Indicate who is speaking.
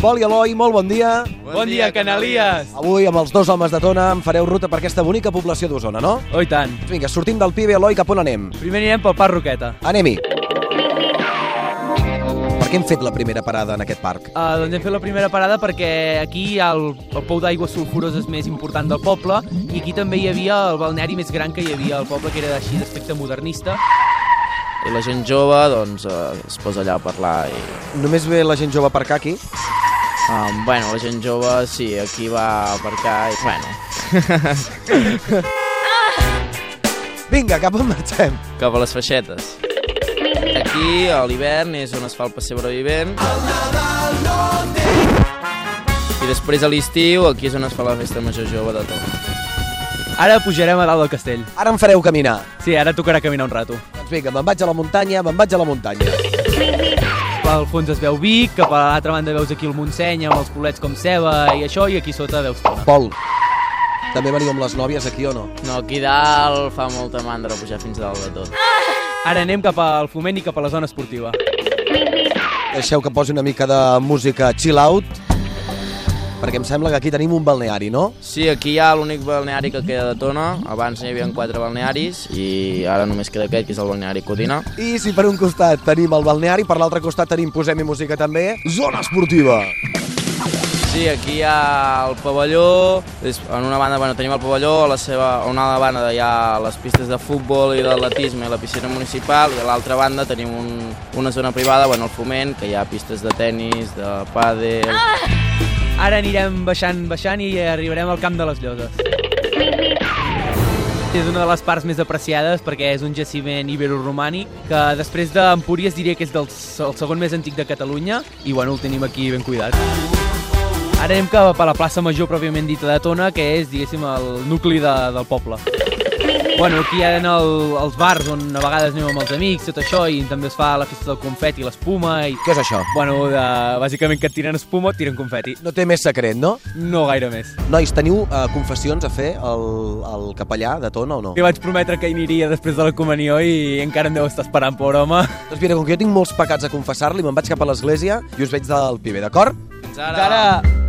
Speaker 1: Pol i Eloi, molt bon dia.
Speaker 2: Bon dia, Canalies!
Speaker 1: Avui, amb els dos homes de Tona, em fareu ruta per aquesta bonica població d'Osona, no?
Speaker 2: Oh, i tant.
Speaker 1: Vinga, sortim del PIB, Eloi, cap on anem?
Speaker 2: Primer anirem pel Parc Roqueta.
Speaker 1: Anem-hi. Per què hem fet la primera parada en aquest parc?
Speaker 2: Uh, doncs hem fet la primera parada perquè aquí el, el pou d'aigua sulfurosa és més important del poble i aquí també hi havia el balneari més gran que hi havia al poble, que era així d'aspecte modernista.
Speaker 3: I la gent jove doncs, eh, es posa allà a parlar. I,
Speaker 1: Només ve la gent jove per aquí?
Speaker 3: um, bueno, la gent jove, sí, aquí va a aparcar i, bueno,
Speaker 1: Vinga, cap on marxem?
Speaker 3: cap a les feixetes. Aquí, a l'hivern, és on es fa el pessebre vivent. I després a l'estiu, aquí és on es fa la festa major jove de tot.
Speaker 2: Ara pujarem a dalt del castell.
Speaker 1: Ara em fareu caminar.
Speaker 2: Sí, ara tocarà caminar un rato.
Speaker 1: Doncs vinga, me'n vaig a la muntanya, me'n vaig a la muntanya.
Speaker 2: Pel fons es veu Vic, cap a l'altra banda veus aquí el Montseny amb els poblets com ceba i això, i aquí sota veus Tona.
Speaker 1: Pol, també veniu amb les nòvies aquí o no?
Speaker 3: No, aquí dalt fa molta mandra pujar fins dalt de tot.
Speaker 2: Ara anem cap al Foment i cap a la zona esportiva.
Speaker 1: Deixeu que posi una mica de música chill out, perquè em sembla que aquí tenim un balneari, no?
Speaker 3: Sí, aquí hi ha l'únic balneari que queda de Tona. Abans n'hi havia quatre balnearis i ara només queda aquest, que és el balneari Codina.
Speaker 1: I si per un costat tenim el balneari, per l'altre costat tenim Posem-hi música també, Zona Esportiva.
Speaker 3: Sí, aquí hi ha el pavelló, des- en una banda bueno, tenim el pavelló, a la seva, a una altra banda hi ha les pistes de futbol i d'atletisme i la piscina municipal, i a l'altra banda tenim un, una zona privada, bueno, el foment, que hi ha pistes de tennis, de pàdel...
Speaker 2: Ara anirem baixant, baixant i arribarem al Camp de les Lloses. És una de les parts més apreciades perquè és un jaciment iberoromànic que després d'Empúries diria que és del, el segon més antic de Catalunya i bueno, el tenim aquí ben cuidat. Ara anem cap a la plaça major pròpiament dita de Tona, que és, diguéssim, el nucli de, del poble. Bueno, aquí hi ha el, els bars on a vegades anem amb els amics, tot això, i també es fa la festa del confeti, l'espuma, i...
Speaker 1: Què és això?
Speaker 2: Bueno, de, bàsicament que et tiren espuma, et tiren confeti.
Speaker 1: No té més secret, no?
Speaker 2: No gaire més.
Speaker 1: Nois, teniu eh, confessions a fer al, al capellà de Tona o no?
Speaker 2: Li vaig prometre que hi aniria després de la comunió i encara em deu estar esperant, pobre home.
Speaker 1: Doncs mira, com que jo tinc molts pecats a confessar-li, me'n vaig cap a l'església i us veig del pibe, d'acord?
Speaker 3: Fins
Speaker 2: Ara...